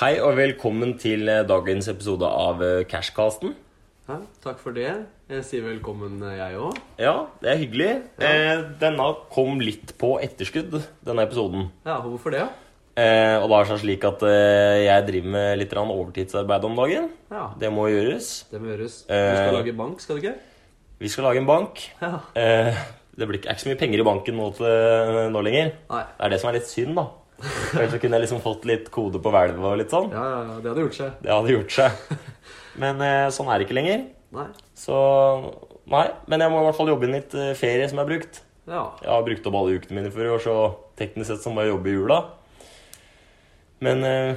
Hei og velkommen til eh, dagens episode av eh, Cashcasten. Hæ? Takk for det. Jeg sier velkommen, eh, jeg òg. Ja, det er hyggelig. Eh, denne kom litt på etterskudd, denne episoden. Ja, hvorfor det? Eh, og da er det seg slik at eh, jeg driver med litt grann overtidsarbeid om dagen. Ja, Det, Det må gjøres. må gjøres. Du Eh. skal lage bank, skal du ikke? Vi skal lage en bank. Ja. Eh, det blir ikke, er ikke så mye penger i banken nå, til, eh, nå lenger. Nei. Det er det som er litt synd, da. Ellers så kunne jeg liksom fått litt kode på hvelvet og litt sånn. Ja, ja, ja, det hadde gjort seg. Det hadde gjort seg. Men eh, sånn er det ikke lenger. Nei. Så nei. Men jeg må i hvert fall jobbe inn litt eh, ferie som jeg har brukt. Ja. Jeg har brukt opp alle ukene mine for i år, så teknisk sett så må jeg jobbe i jula. Men eh,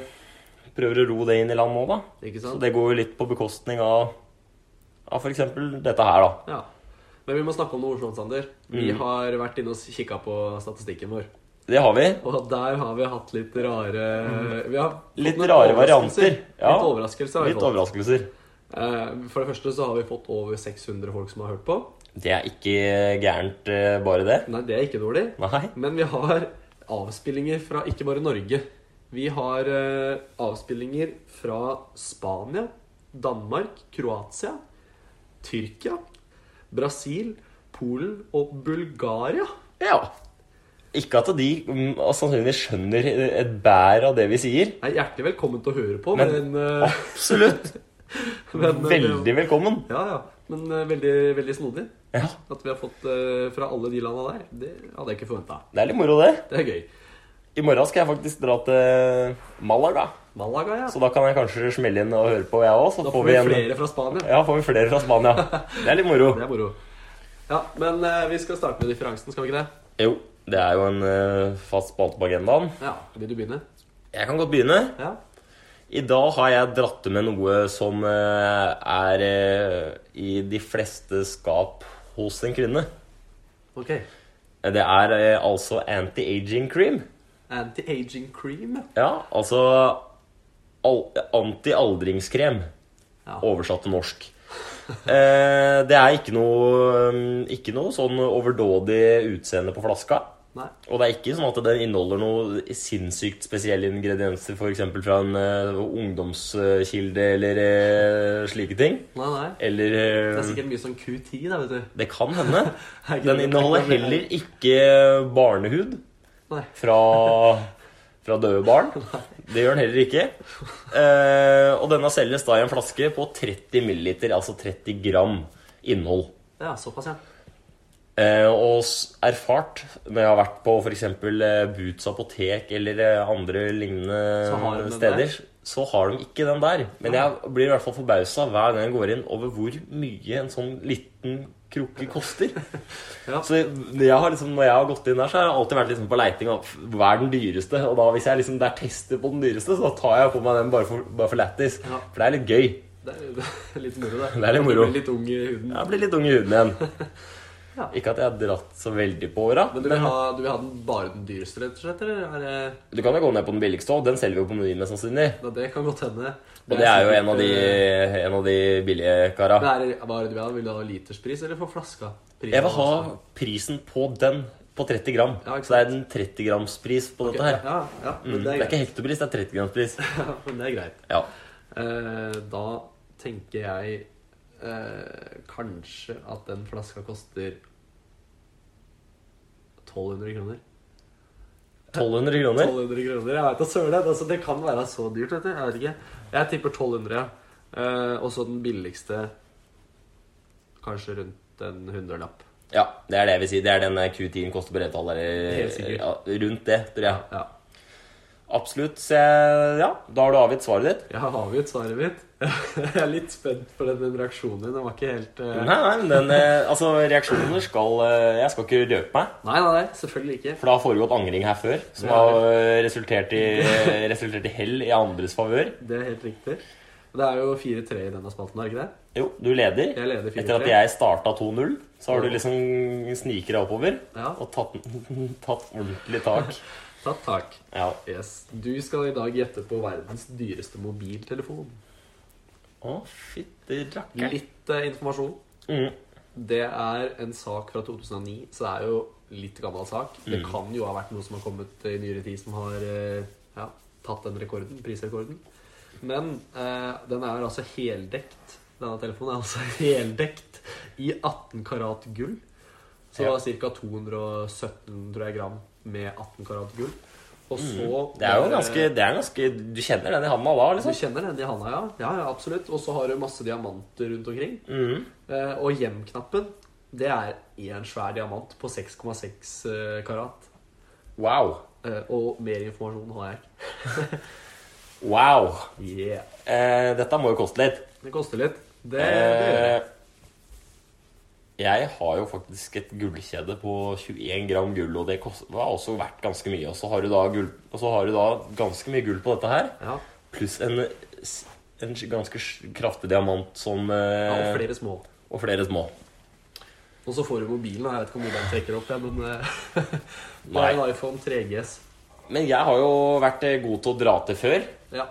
prøver å ro det inn i land nå, da. Ikke Så sant? det går jo litt på bekostning av, av f.eks. dette her, da. Ja. Men vi må snakke om noe morsomt, Sander. Vi Mm. har vært inne og kikka på statistikken vår. Det har vi. Og der har vi hatt litt rare vi har fått Mm. Litt noen rare overraskelser. varianter. Ja. Litt overraskelser har vi Litt fått. overraskelser. Eh, For det første så har vi fått over 600 folk som har hørt på. Det er ikke gærent, eh, bare det. Nei, det er ikke dårlig. Nei. Men vi har avspillinger fra ikke bare Norge. Vi har eh, avspillinger fra Spania, Danmark, Kroatia, Tyrkia, Brasil, Polen og Bulgaria. Ja. Ikke at de mm, sannsynligvis skjønner eh, et bær av det vi sier. Nei, hjertelig velkommen til å høre på, men, Men- eh, Absolutt. men, eh, Veldig velkommen. Ja, ja. Men eh, veldig, veldig snodig Ja, at vi har fått eh, fra alle de landa der. Det hadde jeg ikke forventa. det er litt moro, det. Det er gøy. I morgen skal jeg faktisk dra til Malaga. Malaga, ja. Så da kan jeg kanskje smelle inn og høre på, jeg òg. Så Da får vi en- flere fra Spania. Ja, får vi flere fra Spania. Det er litt moro. Det er moro. Ja, men eh, vi skal starte med differansen, skal vi ikke det? Jo, det er jo en eh, fast spalte på agendaen. Ja, Vil du begynne? Jeg kan godt begynne. Ja. I dag har jeg dratt med noe som eh, er eh, i de fleste skap hos en kvinne. Ok. Det er eh, altså anti-aging cream. Anti-aging cream. Ja, altså al Anti-aldringskrem Ja. Oversatt til norsk eh, Det er ikke noe mm, Ikke noe sånn overdådig utseende på flaska Nei. Og det er ikke sånn at den inneholder noe Sinnssykt spesielle ingredienser For eksempel fra en eh, ungdomskilde Eller eh, slike ting Nei, nei. Eller Det er eh, sikkert mye sånn Q10, da, vet du. Det kan hende Er ikke Den det- inneholder heller ikke barnehud Nei. fra, fra døde barn. Det gjør den heller ikke. Eh, og denne selges da i en flaske på 30 milliliter, altså 30 gram innhold. Ja, såpass, ja. Eh, og s- erfart når jeg har vært på f.eks. Boots apotek eller eh, andre Så har de lignende den steder, der? så har de ikke den der. Men jeg blir i hvert fall forbausa hver gang jeg går inn over hvor mye en sånn liten krukke koster. Ja. Så jeg har liksom, når jeg har gått inn der, så har jeg alltid vært liksom på leiting av hva er den dyreste. Og da hvis jeg liksom der tester på den dyreste, så da tar jeg på meg den bare for, bare for lættis. Ja. For det er litt gøy. Det er, det er litt moro, det. Det er litt moro. Du blir litt ung i huden. Jeg blir litt ung i huden igjen. Ja. Ikke at jeg har dratt så veldig på åra. Men du vil, ha, du vil ha den bare den dyreste, rett og slett? Eller er det Du kan jo gå ned på den billigste òg. Den selger vi jo på Menyen, mest sannsynlig. ja, Det kan godt hende. Og det er jo sikkert, en av de, eh, en av de billige kara. det er, hva er det du vil ha? Vil du ha literspris eller for flaska? Prisen Jeg vil av ha flaska. prisen på den på 30 gram. Ja, ikke sant. så det er en 30 grams-pris på Ok, dette her. Ja, ja, men Mm. det Det er er greit. ikke hektopris, det er 30 grams-pris. men det er greit. Ja. Eh, da tenker jeg eh, kanskje at den flaska koster 1200 kroner. 1200 kroner. 1200 kroner, Jeg veit da søren. jeg. Altså, det kan være så dyrt. Vet du. Jeg vet ikke. Jeg tipper 1200. ja. Eh, og så den billigste kanskje rundt en hundrelapp. Ja, det er det jeg vil si. Det er den der Q10-en koster på Redtall. Helt sikkert. Ja, rundt det, tror jeg. Ja. Absolutt. Så jeg, ja, da har du avgitt svaret ditt. Jeg har avgitt svaret mitt. jeg er litt spent på den reaksjonen din. Den var ikke helt eh, Nei, nei, men den, eh, altså, reaksjoner skal eh, Jeg skal ikke røpe meg. Nei, nei, nei, selvfølgelig ikke. For det har foregått angring her før, som Ja. har eh, resultert i, eh, resultert i hell i andres favør. Det er helt riktig. Det er jo 4-3 i denne spalten, er det ikke det? Jo, du leder. Jeg leder 4-3. Etter at jeg starta 2-0, så har du liksom sniket deg oppover Ja. og tatt, tatt ordentlig tak. Tatt tak. Ja. Yes. Du skal i dag gjette på verdens dyreste mobiltelefon. Å, fytti rakker. Litt eh, informasjon. Mm. Det er en sak fra 2009, så det er Mm. jo litt gammel sak. Det kan jo ha vært noe som har kommet i nyere tid som har eh, ja, tatt den rekorden, prisrekorden. Men eh, den er altså heldekt. Denne telefonen er altså heldekt i 18 karat gull. Så Ja. ca. 217 tror jeg, gram med 18 karat gull. Og så Mm. Det er jo ganske, det er ganske Du kjenner den i handa da, Du liksom? kjenner den i handa, ja. ja, ja absolutt. Og så har du masse diamanter rundt omkring. Mhm. Eh, og hjem-knappen, det er én svær diamant på 6,6 eh, karat. Wow. Eh, og mer informasjon har jeg ikke. Wow. Yeah. Eh, dette må jo koste litt. Det koster litt. Det, det gjør Eh, jeg. jeg har jo faktisk et gullkjede på 21 gram gull, og det kost- det har også verdt ganske mye. Og så har du da, gull, og så har du da ganske mye gull på dette her, Ja. pluss en, s- en s- ganske s- kraftig diamant som eh, ja, og flere små. og flere små. Og så får du mobilen. da. Jeg vet ikke hvor mye den trekker opp, jeg, men eh, det Nei. er en iPhone 3GS. Men jeg har jo vært eh, god til å dra til før. Ja.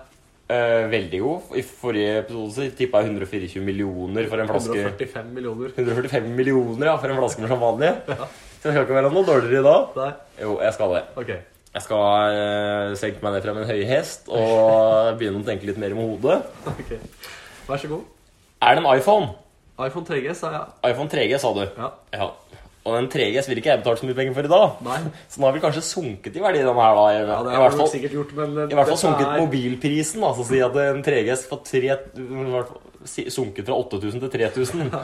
Eh, veldig god. I forrige episode tippa jeg 124 millioner for en flaske 145 millioner. 145 millioner ja, for en flaske med champagne. Ja. Så det skal ikke være noe dårligere i dag. Der. Jo, jeg skal det. Ok. Jeg skal eh, senke meg ned fra min høye hest og begynne å tenke litt mer med hodet. ok. Vær så god. Er det en iPhone? iPhone 3GS, ja. iPhone 3G, sa du. ja. Ja. Og den 3G vil ikke jeg betale så mye penger for i dag. Nei. Så den har vel kanskje sunket i verdi, den her, da. I, Ja, det i har hvert du fall, nok sikkert gjort, men i hvert fall dette sunket er- mobilprisen. Altså si at en 3G for tre, i hvert fall si- sunket fra 8000 til 3000.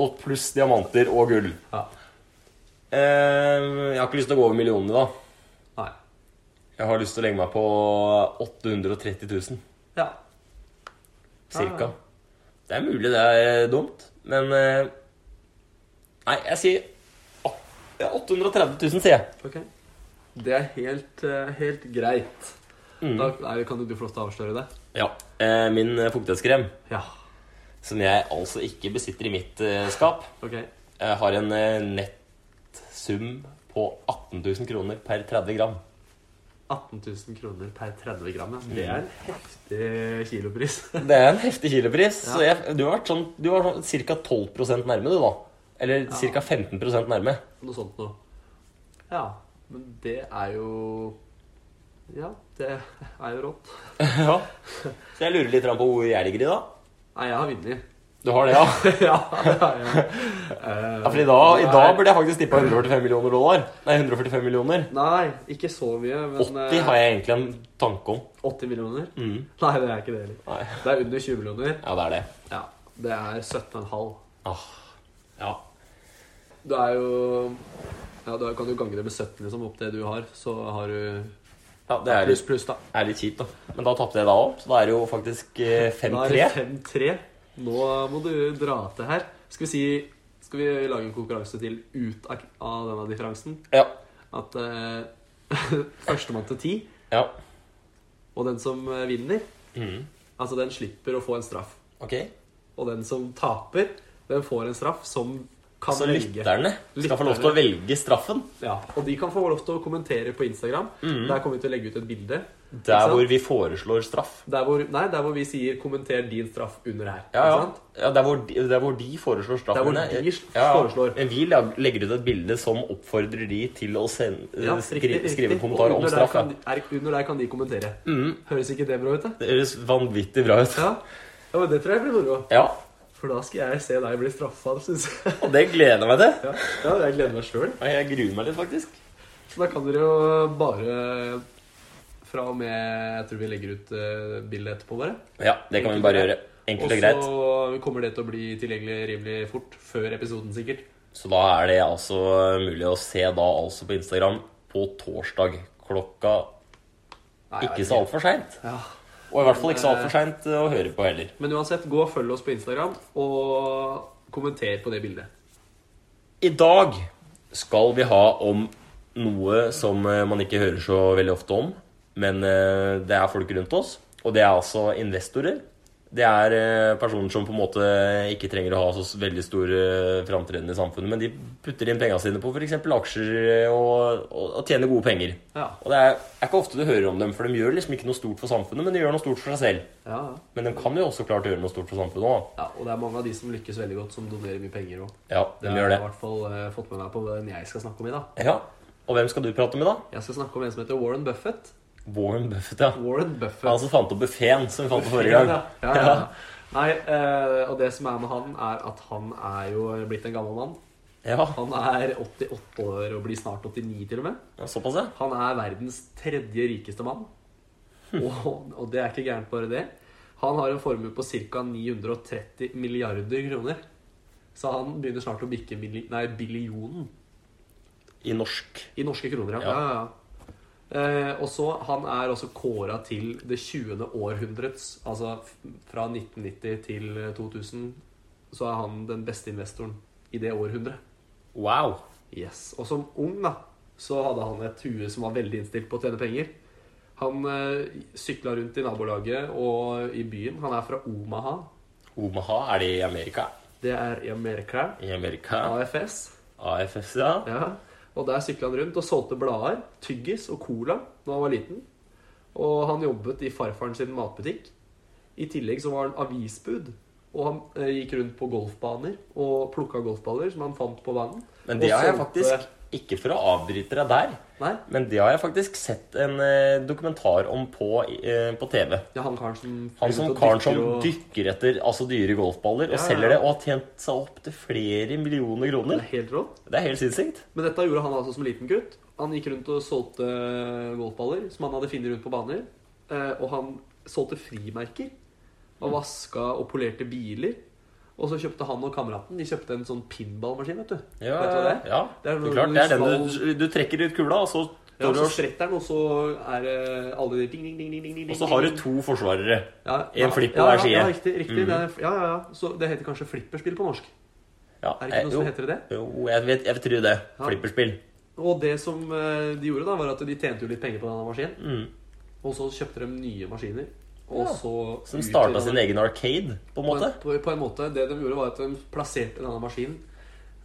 Og pluss diamanter og gull. Ja. Eh, jeg har ikke lyst til å gå over millionene, da. Nei. Jeg har lyst til å legge meg på 830 000. Ja. Cirka. Ja, ja. Ah, Det er mulig det er dumt, men eh, Nei, jeg sier å- ja, 830 000, sier jeg. Ok. Det er helt, eh, helt greit. Mm. Da er, kan jo du få lov til å avsløre det. Ja. Eh, min eh, fuktighetskrem, Ja. som jeg altså ikke besitter i mitt eh, skap, Ok. eh, har en eh, nettsum på 18 000 kroner per 30 gram. 18 000 kroner per 30 gram. Mm. Ja. Det er en heftig kilopris. Det er en heftig kilopris, Ja. så jeg, du har vært sånn, du var sånn ca. 12 nærme, du, da. Eller Ja. ca. 15 nærme. Noe sånt noe. Ja. Men det er jo Ja, det er jo rått. ja. Så jeg lurer litt grann på hvor jeg ligger i, da. Nei, jeg har vunnet. Du har det, ja? ja, det har jeg. Eh, Ja, for i dag, i det dag er- burde jeg faktisk tippa 145 millioner dollar. Nei, 145 millioner. Nei, ikke så mye. Men eh, 80 har jeg egentlig en tanke om. 80 millioner? Mm. Nei, det er ikke det heller. Nei. Det er under 20 millioner. Ja, det er det. Ja, Det er 17,5. Ah. Ja. Du er jo Ja, da kan du gange det med 17, liksom, opp det du har. Så har du ja, det er pluss, litt, pluss, da. er litt kjipt, da. Men da tapte jeg da òg, så da er det jo faktisk eh, Da er det 5-3. 5-3. Nå må du dra til her. Skal vi si Skal vi lage en konkurranse til ut av av denne differansen? Ja. At eh, førstemann til ti, ja. og den som eh, vinner Mhm. Altså, den slipper å få en straff. Ok. Og den som taper, den får en straff som kan Så velge. lytterne skal få lov til å velge straffen Ja, Og de kan få lov til å kommentere på Instagram. Der kommer vi til å legge ut et bilde. Ikke Mm. der sant? hvor vi foreslår straff. Der hvor, nei, der hvor vi sier 'kommenter din straff' under her. Ja, ja. Ikke sant? ja der, hvor de, der hvor de foreslår straffen. Der hvor ja. de ja. foreslår. Men vi lag- legger ut et bilde som oppfordrer de til å sende, Ja, skrive, riktig, skrive riktig. Eh, en kommentar Og om Mm. under straff. Der Ja. kan, de- er, under der kan de kommentere. Høres ikke det bra ut, da? Det høres vanvittig bra ut. Ja. ja, men Det tror jeg blir moro. Ja, For da skal jeg se deg bli straffa, syns jeg. og det gleder jeg meg til. Ja. ja, jeg gleder meg sjøl. Og Jeg gruer meg litt, faktisk. Så da kan dere jo bare Fra og med Jeg tror vi legger ut uh, bildet etterpå, bare. Ja, det kan vi bare gjøre. Og Enkelt og greit. så kommer det til å bli tilgjengelig rimelig fort. Før episoden, sikkert. Så da er det altså mulig å se da altså på Instagram på torsdag klokka Nei, jeg ikke vet så altfor seint. Ja. Og i hvert fall ikke så altfor seint å høre på heller. Men uansett, gå og følg oss på Instagram, og kommenter på det bildet. I dag skal vi ha om noe som eh, man ikke hører så veldig ofte om, men eh, det er folk rundt oss, og det er altså investorer. Det er eh, personer som på en måte ikke trenger å ha så s- veldig stor eh, framtreden i samfunnet, men de putter inn pengene sine på f.eks. aksjer eh, og, og, og tjener gode penger. Ja. Og det er, er ikke ofte du hører om dem, for de gjør liksom ikke noe stort for samfunnet, men de gjør noe stort for seg selv. Ja, Men de kan jo også klart gjøre noe stort for samfunnet òg. ja. Og det er mange av de som lykkes veldig godt, som donerer mye penger òg. Ja, de gjør det. har jeg i hvert fall eh, fått med meg på den jeg skal snakke om i dag. Ja. Og hvem skal du prate med, da? Jeg skal snakke om en som heter Warren Buffett. Warren Buffett, ja. Warren Buffett. Han som fant opp buffeen som vi fant på forrige gang. Ja, ja, ja. Nei, eh, og det som er med han, er at han er jo blitt en gammel mann. Ja, Han er 88 år og blir snart 89 til og med. ja såpass, ja. Han er verdens tredje rikeste mann. Og, og det er ikke gærent bare det. Han har en formue på ca. 930 milliarder kroner. Så han begynner snart å bikke milli, nei, billionen I norsk. i norske kroner. Ja. Ja. Ja. Ja, ja. Eh, og så, Han er også kåra til det 20. århundrets. Altså f- fra 1990 til 2000 så er han den beste investoren i det århundret. Wow. Yes. Og som ung da, så hadde han et hue som var veldig innstilt på å tjene penger. Han eh, sykla rundt i nabolaget og i byen. Han er fra Omaha. Omaha, er det i Amerika? Det er i Amerika. I Amerika. AFS. AFS, ja. Ja. Og der sykla han rundt og solgte blader, tyggis og cola da han var liten. Og han jobbet i farfaren sin matbutikk. I tillegg så var han avisbud. Og han eh, gikk rundt på golfbaner og plukka golfballer som han fant på banen. Men Og det har jeg solgte- faktisk Ikke for å avbryte deg der, eh, Nei, men det har jeg faktisk sett en eh, dokumentar om på, eh, på TV. det er han karen som Han som karen som dykker etter altså dyre golfballer og Ja, ja. selger det, og har tjent seg opp til flere millioner Det kroner. er helt rått. Det er helt sinnssykt. Men dette gjorde han altså som liten gutt. Han gikk rundt og solgte eh, golfballer som han hadde funnet rundt på baner. Eh, Og han solgte frimerker. Og vaska og polerte biler. Og så kjøpte han og kameraten De kjøpte en sånn pinballmaskin. vet du Ja, Vet du hva det er? ja. Det Det er er, når klart, du det er den du, skal- du trekker ut kula, og så, Ja, står du så og s- spretter den, og så er det alle de ding, ding, ding, ding, ding, ding, og så har du to forsvarere. ja, en flipp på ja, hver ja, side. Ja, riktig. riktig Mm. det er, ja, ja, ja. Så det heter kanskje flipperspill på norsk? Ja, Er det ikke eh, noe jo, som heter det? jo, jeg vet, jeg tror det. Ja. Flipperspill. Og det som eh, de gjorde, da var at de tjente jo litt penger på denne maskinen. Mm. Og så kjøpte de nye maskiner. Og Ja, så Som starta sin egen arcade, på en måte. På, på en måte. Det de gjorde, var at de plasserte denne maskinen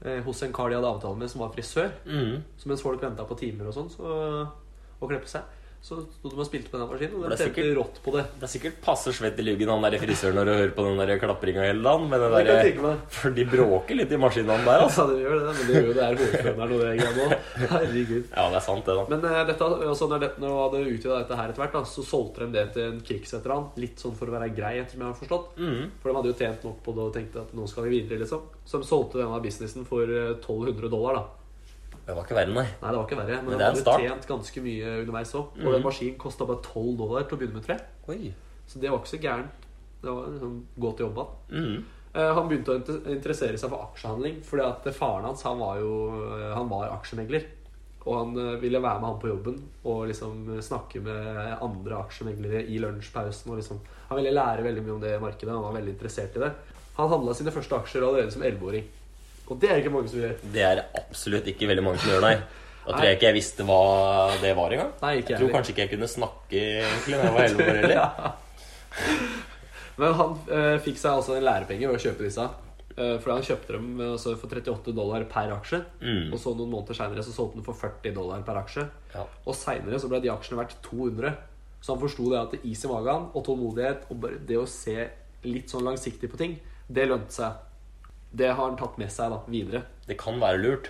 eh, hos en kar de hadde avtale med, som var frisør. Mm. Så mens folk venta på timer og sånn, så å klippe seg, så sto de og spilte på den maskinen, og Det de er tjente sikkert- rått på det. Det er sikkert passe svett i luggen han der frisøren når du hører på den der klapringa hele dagen. Men den Det kan jeg der, tenke meg. for de bråker litt i maskinene der, altså. Ja, det gjør det, men det gjør jo det her hovedføreren og det greiene òg. Herregud. Ja, det er sant, det, da. Men eh, dette, altså, når, det, når de hadde utvida dette her etter hvert, da, så solgte de det til en krigsveteran. Litt sånn for å være grei, ettersom jeg har forstått. Mm. For de hadde jo tjent nok på det og tenkte at nå skal vi videre, liksom. Så de solgte denne businessen for eh, 1200 dollar, da. Det var ikke verre, nei. Nei, det var ikke verre, men, Men de det er en hadde start. Mm. tjent ganske mye underveis òg. Og den maskinen kosta bare 12 dollar til å begynne med, tror jeg. Oi. Så det var ikke så gærent. Det var liksom godt jobba. Mm. Eh, Han begynte å inter- interessere seg for aksjehandling, fordi at faren hans han var jo eh, han var aksjemegler. Og han eh, ville være med han på jobben og liksom snakke med andre aksjemeglere i lunsjpausen. Og liksom, han ville lære veldig mye om det markedet. Han var veldig interessert i det. Han handla sine første aksjer allerede som 11-åring. Og det er ikke mange som gjør. Det er absolutt ikke veldig mange som gjør, nei. Da tror jeg ikke jeg visste hva det var engang. Nei, ikke Jeg tror heller. kanskje ikke jeg kunne snakke egentlig da jeg var 11 år heller. Men han eh, fikk seg altså en lærepenge ved å kjøpe disse. Eh, fordi han kjøpte dem eh, altså, for 38 dollar per aksje. Mm. Og så noen måneder seinere solgte han for 40 dollar per aksje. Ja. Og seinere så ble de aksjene verdt 200. Så han forsto det at is i magen og tålmodighet og bare det å se litt sånn langsiktig på ting, det lønte seg. Det har han tatt med seg da, videre. Det kan være lurt,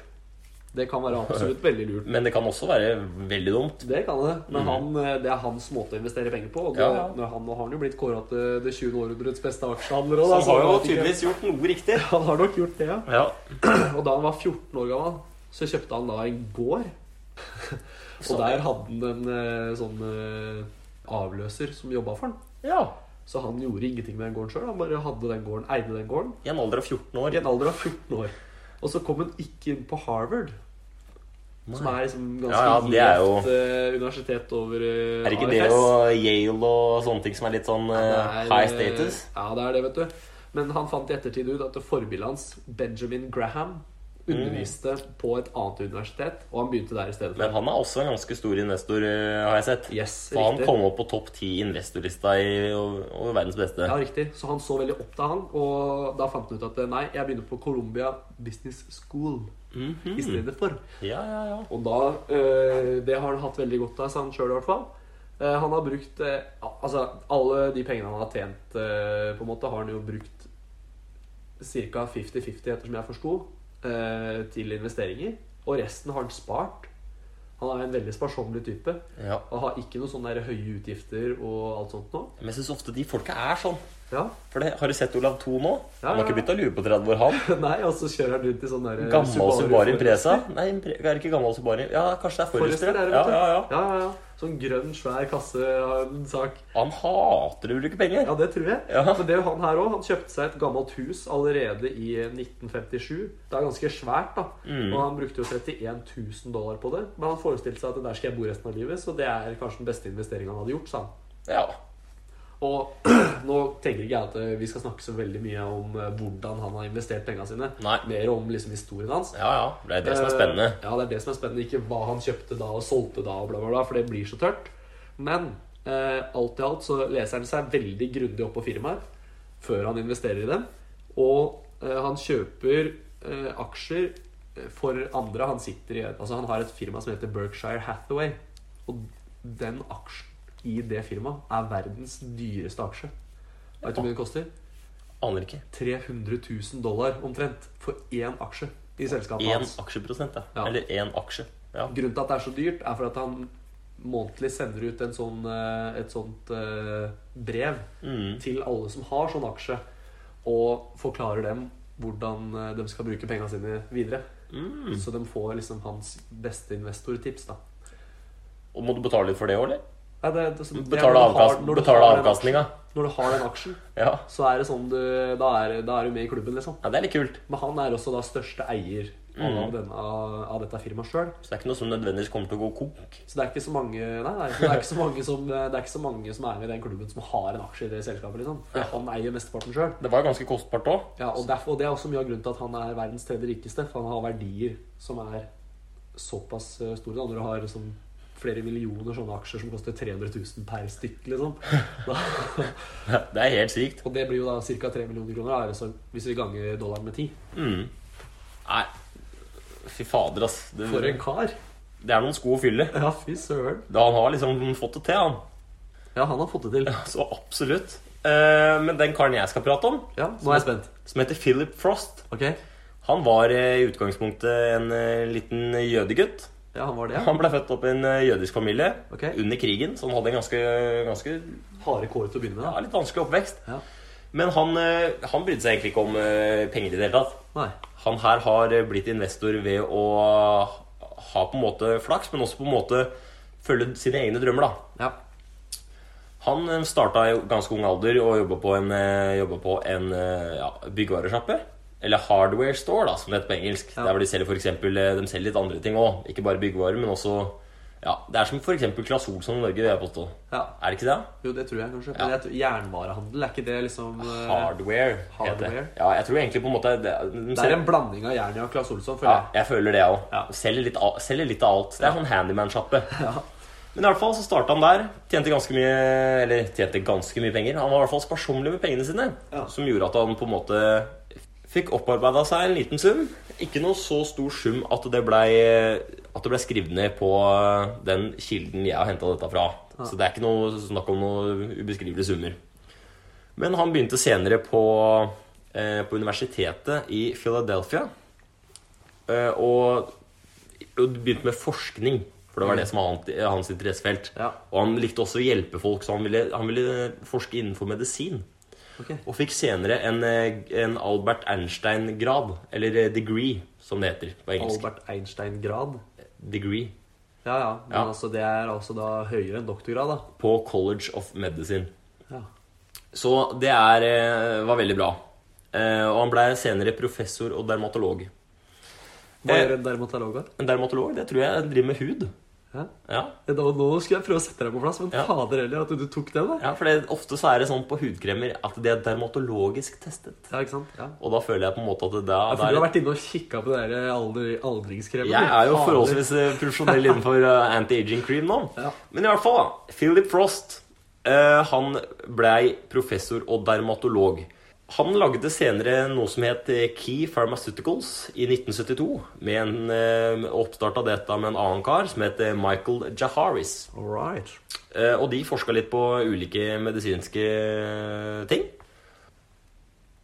Det kan være absolutt veldig lurt. men det kan også være veldig dumt. Det kan det, men han, eh, det er hans måte å investere penger på. Og da, Mm. Ja, ja. når han, nå har han jo blitt kåra til det 20. århundrets beste aksjehandler. også, Så da, han har jeg jo vet ikke- tydeligvis gjort noe riktig. Han har nok gjort det, ja. Ja. Og da han var 14 år gammel, så kjøpte han da en gård. Og Så- der hadde han en eh, sånn eh, avløser som jobba for han. ja. Så han gjorde ingenting med den gården sjøl. Han bare hadde den gården, eide den gården I en alder av 14 år. i en alder av 14 år. Og så kom han ikke inn på Harvard, som Nei. er liksom ganske Ja, ja, det er jo- gjevt eh, universitet over eh, Er det ikke det og Yale og sånne ting som er litt sånn eh, Det er, high status? Ja, det er det, vet du. Men han fant i ettertid ut at forbildet hans, Benjamin Graham, Mm. underviste på et annet universitet, og han begynte der i stedet. Men han er også en ganske stor investor, eh, har jeg sett. Yes, For han riktig. kom opp på topp ti investorlista i og, og verdens beste. Ja, riktig. Så han så veldig opp til han, og da fant han ut at eh, nei, jeg begynner på Columbia Business School Mhm. i stedet for. Ja, ja, ja. Og da, eh, det har han hatt veldig godt av, sa han sjøl i hvert fall. Eh, han har brukt eh, al- Altså, alle de pengene han har tjent, eh, på en måte, har han jo brukt ca. 50-50, ettersom jeg forsto, eh, til investeringer. Og resten har han spart. Han er en veldig sparsommelig type. Ja. Og har ikke noen sånne der høye utgifter og alt sånt nå. Men jeg syns ofte de folka er sånn. Ja. For det, Har du sett Olav 2 nå? Ja, han har ja, ikke ja. begynt å lure på 30 år, han. Nei, og så kjører han rundt i sånn der Gammel Subaru Forester. Impresa? Nei, impre er det ikke gammel Subaru Ja, kanskje det er Forester Forrester. er det, Ja, vet du. ja, ja. ja, ja, ja. Sånn grønn, svær kasse av en sak. Han hater å bruke penger. Ja, det tror jeg. Ja. For det er jo han her òg. Han kjøpte seg et gammelt hus allerede i 1957. Det er ganske svært, da. Mm. Og han brukte jo 31 000 dollar på det. Men han forestilte seg at det der skal jeg bo resten av livet, så det er kanskje den beste investeringen han hadde gjort, sa han. Ja. Og nå tenker ikke jeg at eh, vi skal snakke så veldig mye om eh, hvordan han har investert pengene sine. Nei. Mer om liksom historien hans. ja, ja. Det er det som er spennende. Eh, Ja, det er det som er spennende. Ikke hva han kjøpte da og solgte da, og bla, bla, bla, for det blir så tørt. Men eh, alt i alt så leser han seg veldig grundig opp på firmaer før han investerer i dem. Og eh, han kjøper eh, aksjer eh, for andre. Han sitter i Altså, han har et firma som heter Berkshire Hathaway. Og den aksjen i det firmaet er verdens dyreste aksje. Vet du hvor mye den koster? Eh, Aner ikke. 300 000 dollar omtrent for én aksje i selskapet Én hans. aksjeprosent, da. Ja. Eller én aksje. Ja. Grunnen til at det er så dyrt, er for at han månedlig sender ut en sånn, eh, et sånt eh, brev Mm. til alle som har sånn aksje, og forklarer dem hvordan eh, de skal bruke pengene sine videre. Mm. Så de får liksom hans beste investortips, da. Og må du betale litt for det òg, eller? Nei, det, det, det, Betale, når du har- avkast, når du betale har den avkastninga? aksjen- Når du har den aksjen, Ja. så er det sånn du Da er, da er du med i klubben, liksom. ja. Det er litt kult. Men han er også da største eier av, Mm. denne, av dette firmaet sjøl. Så det er ikke noe som nødvendigvis kommer til å gå konk. Så det er ikke så mange Nei, det er, det er ikke så mange som Det er ikke så mange som er med i den klubben som har en aksje i det selskapet, liksom. For han eier mesteparten sjøl. Det var jo ganske kostbart òg. Ja, og, derfor, og det er også mye av grunnen til at han er verdens tredje rikeste. For han har verdier som er såpass eh, store. da. Når du har liksom flere millioner sånne aksjer som koster 300 000 per stykk, liksom. Da, Det er helt sykt. og det blir jo da ca. 3 millioner kroner, da, altså, hvis vi ganger dollaren med 10. Mm. Nei, fy fader, ass. Det, For en kar! det er noen sko å fylle. Ja, fy søren. Da han har liksom fått det til, han. Ja, han har fått det til. Så absolutt. Eh, men den karen jeg skal prate om, Ja, nå er jeg spent. som heter Philip Frost Ok. Han var eh, i utgangspunktet en eh, liten jødegutt. Ja, han var det, ja. Han ble født opp i en eh, jødisk familie Ok. under krigen, så han hadde en ganske, ganske ja, Harde kår til å begynne med, litt vanskelig oppvekst. da. Ja. Men han, eh, han brydde seg egentlig ikke om eh, penger i det hele tatt. Nei. Han her har eh, blitt investor ved å ha på en måte flaks, men også på en måte følge sine egne drømmer, da. Ja. Han starta i ganske ung alder og jobba på en, eh, jobbet på en eh, ja, byggevaresjappe. Eller hardware store, da, som det heter på engelsk. Ja. Der hvor de selger for eksempel, eh, de selger litt andre ting òg. Ikke bare byggevarer, men også ja, Det er som f.eks. Claes Olsson i Norge, vil jeg påstå. ja. Er det ikke det? Jo, det tror jeg kanskje. Men jeg tror, jernvarehandel, er ikke det liksom eh, Hardware, heter det. Hardware? Ja, jeg tror egentlig på en måte det, de Det er selger, en blanding av Jernia og Claes Olsson, ja, føler jeg. Jeg føler det òg. Ja. Selger, litt av- selger litt av alt. Det er sånn handyman-sjappe. Ja. Men i hvert fall så starta han der. Tjente ganske mye Eller tjente ganske mye penger. Han var i hvert fall sparsommelig med pengene sine. Ja. Som gjorde at han på en måte fikk opparbeida seg en liten sum. Ikke noe så stor sum at det blei At det ble skrevet ned på den kilden jeg har henta dette fra. Så det er ikke noe snakk om noe ubeskrivelige summer. Men han begynte senere på, eh, på universitetet i Philadelphia. Eh, og og begynte med forskning, for det var det som var hans, hans interessefelt. Mm. Ja. Og han likte også å hjelpe folk, så han ville, han ville forske innenfor medisin. Ok. Og fikk senere en, eh, en Albert Einstein-grad, eller eh, degree, som det heter på engelsk. Albert Einstein-grad. Degree. Ja, ja. Men Ja. altså, det er altså da høyere enn doktorgrad, da. På College of Medicine. Ja. Så det er, eh, var veldig bra. Eh, Og han ble senere professor og dermatolog. Hva Eh. gjør en dermatolog, da? En dermatolog, det tror jeg driver med hud. Ja. Ja, Ja, da- Nå skulle jeg prøve å sette deg på plass, men Ja. fader heller at du tok den, da. ja for det, ofte så er det sånn på hudkremer at de er dermatologisk testet. Ja, ikke sant? Ja. Og da føler jeg på en måte at det da, da Ja, for du har vært inne og kikka på den der eh, alder, aldringskremen. Jeg du. er jo Fader. forholdsvis eh, profesjonell innenfor eh, anti-aging cream nå. Ja. Men i hvert fall, da. Philip Frost eh, han blei professor og dermatolog. Han lagde senere noe som het eh, Key Pharmaceuticals i 1972. Med en, eh, oppstarta dette med en annen kar som het eh, Michael Jaharis. All right. Eh, Og de forska litt på ulike medisinske eh, ting.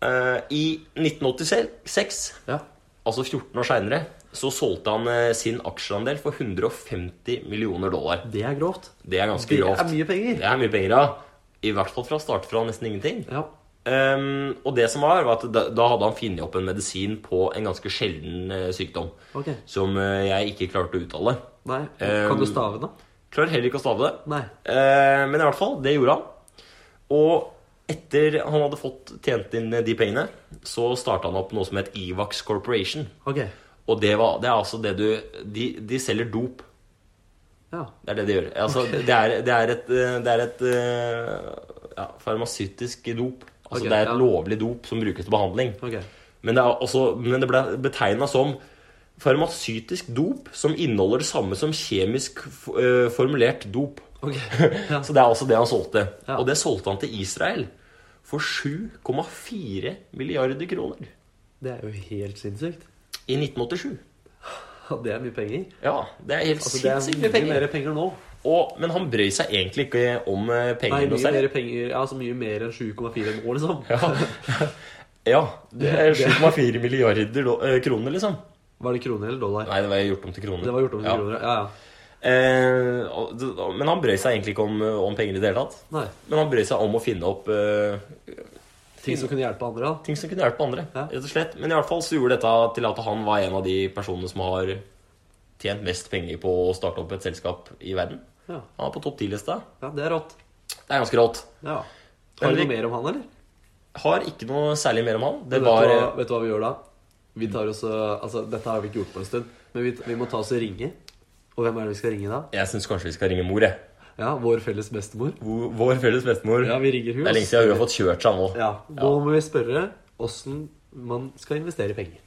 Eh, I 1986, Ja. altså 14 år seinere, så solgte han eh, sin aksjeandel for 150 millioner dollar. Det er grovt. Det er ganske Det grovt. er mye penger. Det er mye penger, ja. I hvert fall fra start fra nesten ingenting. Ja. Ehm, og det som var, var at da, da hadde han funnet opp en medisin på en ganske sjelden eh, sykdom. Ok. Som eh, jeg ikke klarte å uttale. Nei. Kan du Um, stave den, da? Klarer heller ikke å stave det. Nei. Eh, men i hvert fall, det gjorde han. Og etter han hadde fått tjent inn de pengene, så starta han opp noe som het Evax Corporation. Ok. Og det, var, det er altså det du De, de selger dop. Ja. Det er det de gjør. Altså, det, er, det er et, eh, det er et eh, ja, farmasøytisk dop. Altså, Ok, det er et ja. lovlig dop som brukes til behandling. Ok. Men det, er også, men det ble betegna som farmasøytisk dop som inneholder det samme som kjemisk f- eh, formulert dop. Ok. Ja. Så det er altså det han solgte. Ja. Og det solgte han til Israel for 7,4 milliarder kroner Det er jo helt sinnssykt. i 1987. Ja, Det er mye penger. Ja, det er helt Altså, det er sinnssykt mye mye penger. mer penger nå. Og, men han brøy seg egentlig ikke om eh, Nei, pengene noe mye særlig. mer penger, ja, altså mye mer enn 7,4 nå, liksom. Ja. ja. Det er 7,4 milliarder do- eh, kroner, liksom. Var det kroner eller dollar? Nei, det var gjort om til kroner. Det var gjort om til Ja. kroner, ja, ja. Eh, og det- og- men han brøy seg egentlig ikke om, eh, om penger i det hele tatt. Nei, Men han brøy seg om å finne opp eh, ting som kunne hjelpe andre, da. ting som kunne hjelpe andre. Ja. rett og slett. Men i alle fall så gjorde dette til at han var en av de personene som har tjent mest penger på å starte opp et selskap i verden. Ja, Han er på topp 10-lista. ja det er rått. Det er ganske rått. Ja. Har du Henrik- noe mer om han, eller? Har ikke noe særlig mer om han. Det vet, var eh, du hva, vet du hva vi gjør da? Vi tar også, altså, dette har vi ikke gjort på en stund, men vi, vi må ta oss og ringe. Og hvem er det vi skal ringe da? Jeg syns kanskje vi skal ringe mor, jeg. Ja, vår felles bestemor. Vår vår felles bestemor. Ja, vi ringer hun. Det er lenge siden hun har fått kjørt seg nå. Ja, nå må vi spørre hvordan man skal investere penger.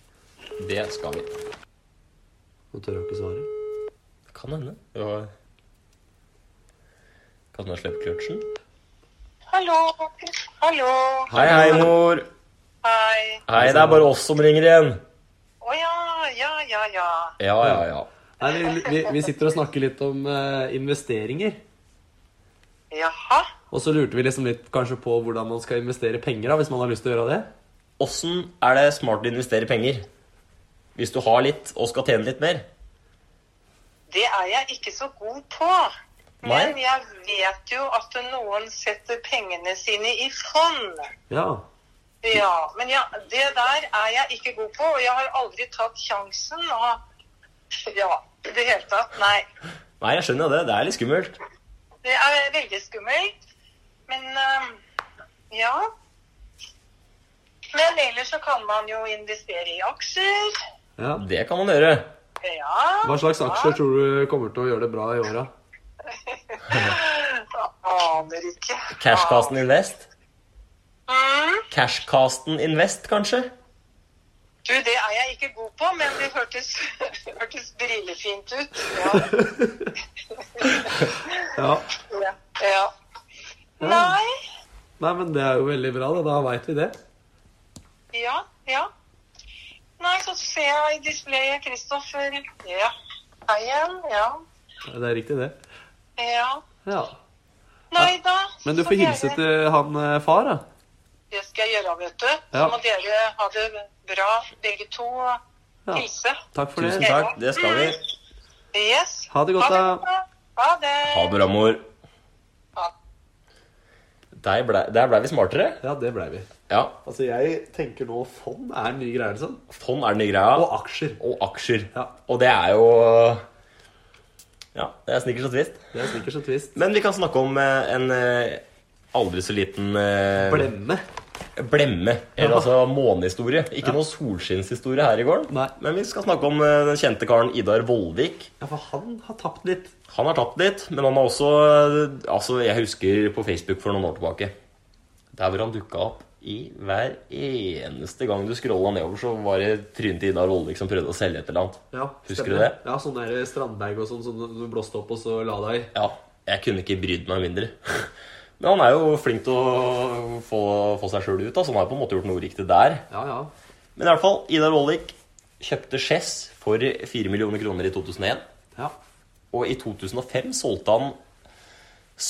Det skal vi. Nå tør jeg ikke svare. Kan hende. Hun har- Kan hun ha sluppet kløtsjen? Hallo. Hallo. Hei, hei, mor. Hei. Hei, det er bare oss som ringer igjen. Å ja, ja, ja, ja. Ja, ja, ja. Nei, vi, vi, vi sitter og snakker litt om eh, investeringer. Jaha. Og så lurte vi liksom litt kanskje på hvordan man skal investere penger, da, hvis man har lyst til å gjøre det. Åssen er det smart å investere penger? Hvis du har litt og skal tjene litt mer? Det er jeg ikke så god på. Men Nei. jeg vet jo at noen setter pengene sine i fond. Ja. Ja, men ja, det der er jeg ikke god på, og jeg har aldri tatt sjansen og Ja, i det hele tatt. Nei. Nei, jeg skjønner jo det. Det er litt skummelt. Det er veldig skummelt. Men øhm, ja. Men ellers så kan man jo investere i aksjer. ja. Det kan man gjøre. Ja. Hva slags aksjer tror du kommer til å gjøre det bra i åra? Ja, Aner ikke. Cashcasten Invest. Mm. Cashcasten Invest, kanskje? Du, det er jeg ikke god på, men det hørtes, hørtes brillefint ut. Ja. Ja. ja. ja. Nei. Nei, men det er jo veldig bra, da. Da veit vi det. Ja, ja. Nei, så ser jeg i displayet Kristoffer. Ja. Hei igjen. Ja. Det er riktig, det. Ja. Ja. Nei da. Men du så får dere- hilse til han eh, far, da. Det skal jeg gjøre, vet du. Så Ja. må dere ha det bra, begge to. Ja. Hilse. Takk for Tusen det. takk. Det skal vi. Yes. Ha det godt, da. bra. Ha det. Ha det bra, mor. Ha det. Der blei ble vi smartere. Ja, det blei vi. Ja. Altså, jeg tenker nå fond er mye greier, liksom. Sånn er den nye greia. Og aksjer. Og aksjer. Ja. Og det er jo Ja, det er snickers og twist. Det er snickers og twist. Men vi kan snakke om eh, en eh, aldri så liten eh, Blemme. blemme, eller Ja. altså månehistorie. Ikke noe solskinnshistorie her i gården. Nei. Men vi skal snakke om eh, den kjente karen Idar Vollvik. Ja, for han har tapt litt. Han har tapt litt, men han har også eh, Altså, jeg husker på Facebook for noen år tilbake. Der hvor han dukka opp i hver eneste gang du scrolla nedover, så var det trynet til Idar Vollvik som prøvde å selge et eller annet. Ja, Husker stemmer. du det? Ja, sånn der Strandberg og sånn som du blåste opp og så la deg i. Ja, jeg kunne ikke brydd meg mindre. Men han er jo flink til å få, få seg sjøl ut, da, så han har på en måte gjort noe riktig der. Ja, ja. Men i hvert fall, Idar Vollvik kjøpte Chess for 4 millioner kroner i 2001. Ja, Og i 2005 solgte han,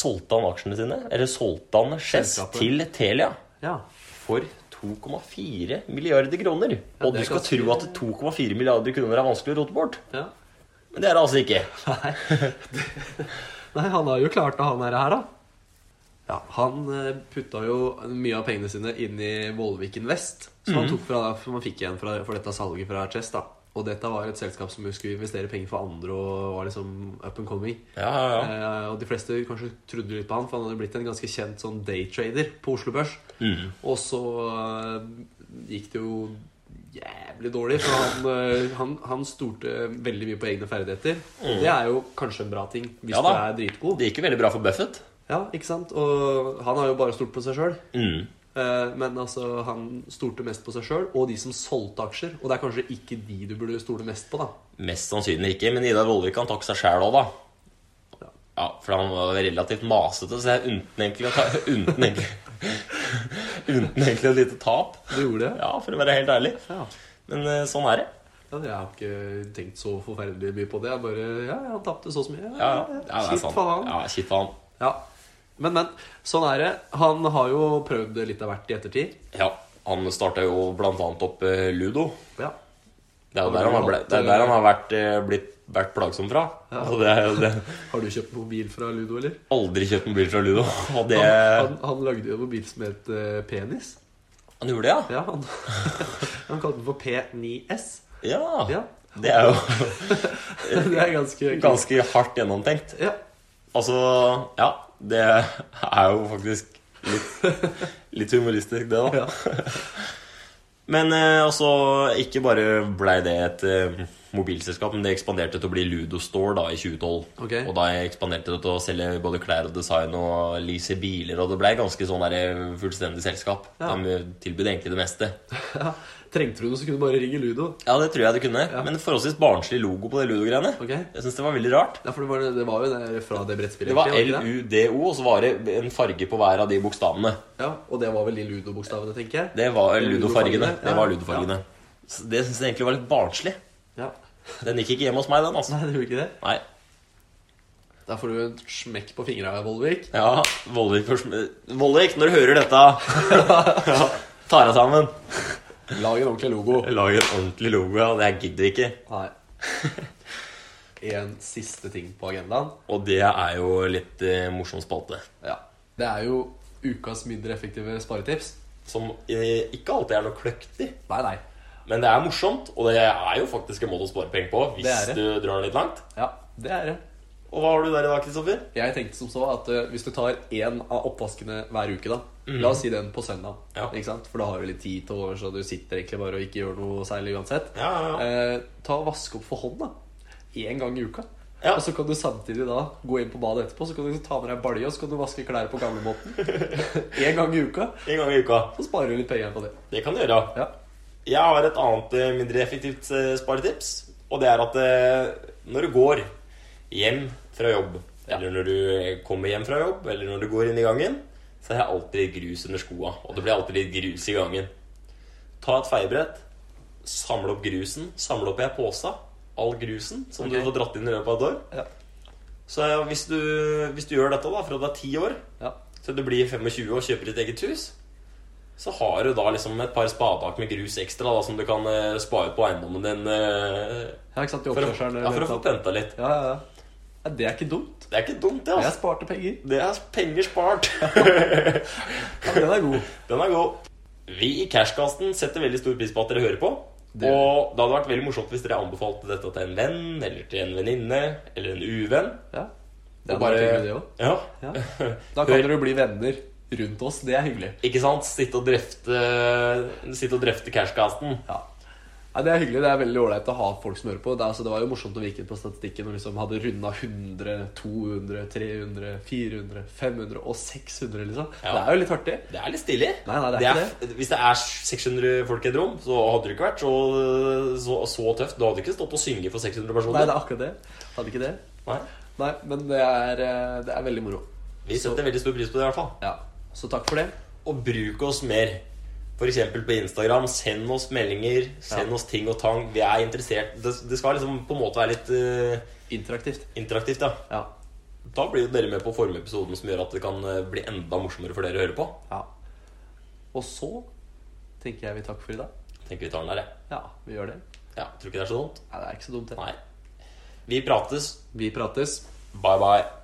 solgte han aksjene sine, eller solgte han Chess Selskapet. til Telia ja. for 2,4 milliarder kroner. og du det er skal ganske- tro at 2,4 milliarder kroner er vanskelig å rote bort. Ja. Men det er det altså ikke. Nei. Nei, han har jo klart det, han her, her da. Ja, han eh, putta jo mye av pengene sine inn i Vollvik Invest, som Mhm. han tok fra, som han fikk igjen fra, for dette salget fra Chess. da. Og dette var et selskap som skulle investere penger for andre og var liksom up and coming. Ja, ja, ja. Eh, og de fleste kanskje trodde litt på han, for han hadde blitt en ganske kjent sånn daytrader på Oslo Børs. Mm. Og så eh, gikk det jo jævlig dårlig, for han, eh, han, han stolte veldig mye på egne ferdigheter. Og Det er jo kanskje en bra ting, Mm. hvis Ja du da. er dritgod. Det gikk jo veldig bra for Buffett. Ja, ikke sant? Og han har jo bare stolt på seg sjøl. Mm. Men altså, han stolte mest på seg sjøl og de som solgte aksjer. Og det er kanskje ikke de du burde stole mest på, da. Mest sannsynlig ikke, men Idar Vollvik kan takke seg sjæl òg, da. Ja. Ja, for han var relativt masete, så jeg unten egentlig å ta Unten egentlig Unten egentlig et lite tap. Du gjorde det? Ja, for å være helt ærlig. Ja. Men eh, sånn er det. Ja, jeg har ikke tenkt så forferdelig mye på det. Jeg bare Ja, ja, han tapte så og så mye. Ja, ja. ja det er Shit, sant. faen. Ja, shit for han. Ja. Men, men. Sånn er det. Han har jo prøvd litt av hvert i ettertid. Ja, han starta jo blant annet opp eh, Ludo. Ja. Det er jo Har der han du har, ble, hatt, det er der han har vært, eh, blitt, vært plagsom fra. Altså, det er jo det. Har du kjøpt mobil fra Ludo, eller? Aldri kjøpt mobil fra Ludo. Og det Han, Han, han, han lagde jo en mobil som het eh, Penis. gjorde det, ja? Ja, han, han kalte den for P9S. Ja. Ja. Det er jo Det er ganske ganske hardt gjennomtenkt. Ja. Altså, ja. Det er jo faktisk litt, litt humoristisk, det, da. ja. Men eh, altså, ikke bare blei det et eh, mobilselskap, men det ekspanderte til å bli Ludo Store da i 2012. Ok. Og da ekspanderte det til å selge både klær og design og lease biler, og det blei ganske sånn der eh, fullstendig selskap. Ja. De eh, tilbød egentlig det meste. ja. Trengte du noe, så kunne du bare ringe Ludo. Ja, det tror jeg det kunne. Men forholdsvis barnslig logo på det Ludo-greiene. Ok. Jeg syns det var veldig rart. Ja, for det var, det var jo det fra det brettspillet. Det var egentlig, var det ikke det? LUDO, og så var det en farge på hver av de bokstavene. Ja, Og det var vel de Ludo-bokstavene, tenker jeg. Det var Ludo-fargene, Ludo-fargene. Det ja. var Ludo-fargene. Så Det syns jeg egentlig var litt barnslig. Ja. Den gikk ikke hjemme hos meg, den, altså. Nei, det gjorde ikke det. Nei. Da får du en smekk på fingra, Vollvik. Ja, Vollvik, for- Vollvik, når du hører dette ja, Tar deg sammen. Lag en ordentlig logo. Lag en ordentlig logo. Ja, det her gidder vi ikke. Nei. En siste ting på agendaen. Og det er jo litt eh, morsom spalte. Ja. Det er jo ukas mindre effektive sparetips. Som eh, ikke alltid er noe kløktig. Nei, nei. Men det er morsomt, og det er jo faktisk en måte å spare penger på hvis Det er det. du drar litt langt. Ja, det er det. Og hva har du der i dag, Kristoffer? Jeg tenkte som så at eh, hvis du tar én av oppvaskene hver uke, da La oss si den på søndag, Ja. ikke sant? for da har du litt tid til over, så du sitter egentlig bare og ikke gjør noe særlig uansett. Ja, ja, ja. Eh, ta og Vask opp for hånd da én gang i uka. Ja. Og så kan du samtidig da gå inn på badet etterpå Så kan du liksom ta med deg en balje og så kan du vaske klær på gamlemåten. Én gang i uka. En gang i uka. Så sparer du litt penger på det. Det kan du gjøre. Ja. Jeg har et annet eh, mindre effektivt eh, sparetips. Og det er at eh, når du går hjem fra jobb, eller når du eh, kommer hjem fra jobb, eller når du går inn i gangen, så er det alltid litt grus under skoa. Og det blir alltid litt grus i gangen. Ta et feiebrett, samle opp grusen, samle opp i ei pose. All grusen som Ok. du får dratt inn i løpet av et år. Ja. Så eh, hvis du, hvis du gjør dette da fra du er ti år, ja. så du blir 25 og kjøper ditt eget hus, så har du da liksom et par spadetak med grus ekstra da, som du kan eh, spare på eiendommen din eh, ja ikke sant? I for, å, oppførselen, ja, for å få eller noe sånt. penta litt. ja, ja, ja. ja, det er ikke dumt. Det er ikke dumt, det. Jeg altså. sparte penger. Det er penger spart. Ja, den er god. Den er god. Vi i Cashkasten setter veldig stor pris på at dere hører på. Det gjør Og det hadde vært veldig morsomt hvis dere anbefalte dette til en venn, eller til en venninne, eller en uvenn. Ja. Og Det bare- er bare hyggelig, det òg. Ja. Ja. Da kan dere jo bli venner rundt oss. Det er hyggelig. Ikke sant? Sitte og drøfte Sitte og drøfte Cashkasten. Ja. Nei, det er hyggelig. Det er veldig ålreit å ha folk som hører på. Det, er- altså, det var jo morsomt når vi gikk inn på statistikken og liksom hadde runda 100, 200, 300, 400, 500 og 600, liksom. Ja. Det er jo litt artig. Det er litt stilig. Nei, nei, det er ikke Hvis det er 600 folk i et rom, så hadde det ikke vært så, så, så tøft. Du hadde ikke stått og synge for 600 Nei, personer. det er akkurat det. Hadde ikke det. Nei. Nei, men det er, eh, det er veldig moro. Vi setter veldig stor pris på det, i hvert fall. Ja. Så takk for det. Og bruk oss mer. F.eks. på Instagram. Send oss meldinger. Send Ja. oss ting og tang. Vi er interessert. Det, det skal liksom på en måte være litt eh, Interaktivt. interaktivt, ja. Ja. Da blir jo dere med på formepisoden som gjør at det kan eh, bli enda morsommere for dere å høre på. ja. Og så tenker jeg vi takker for i dag. Tenker vi tar den der, jeg. Ja, vi gjør det. Ja, tror ikke det er så dumt. Nei, det er ikke så dumt, det. Nei. Vi prates. Vi prates. Bye, bye.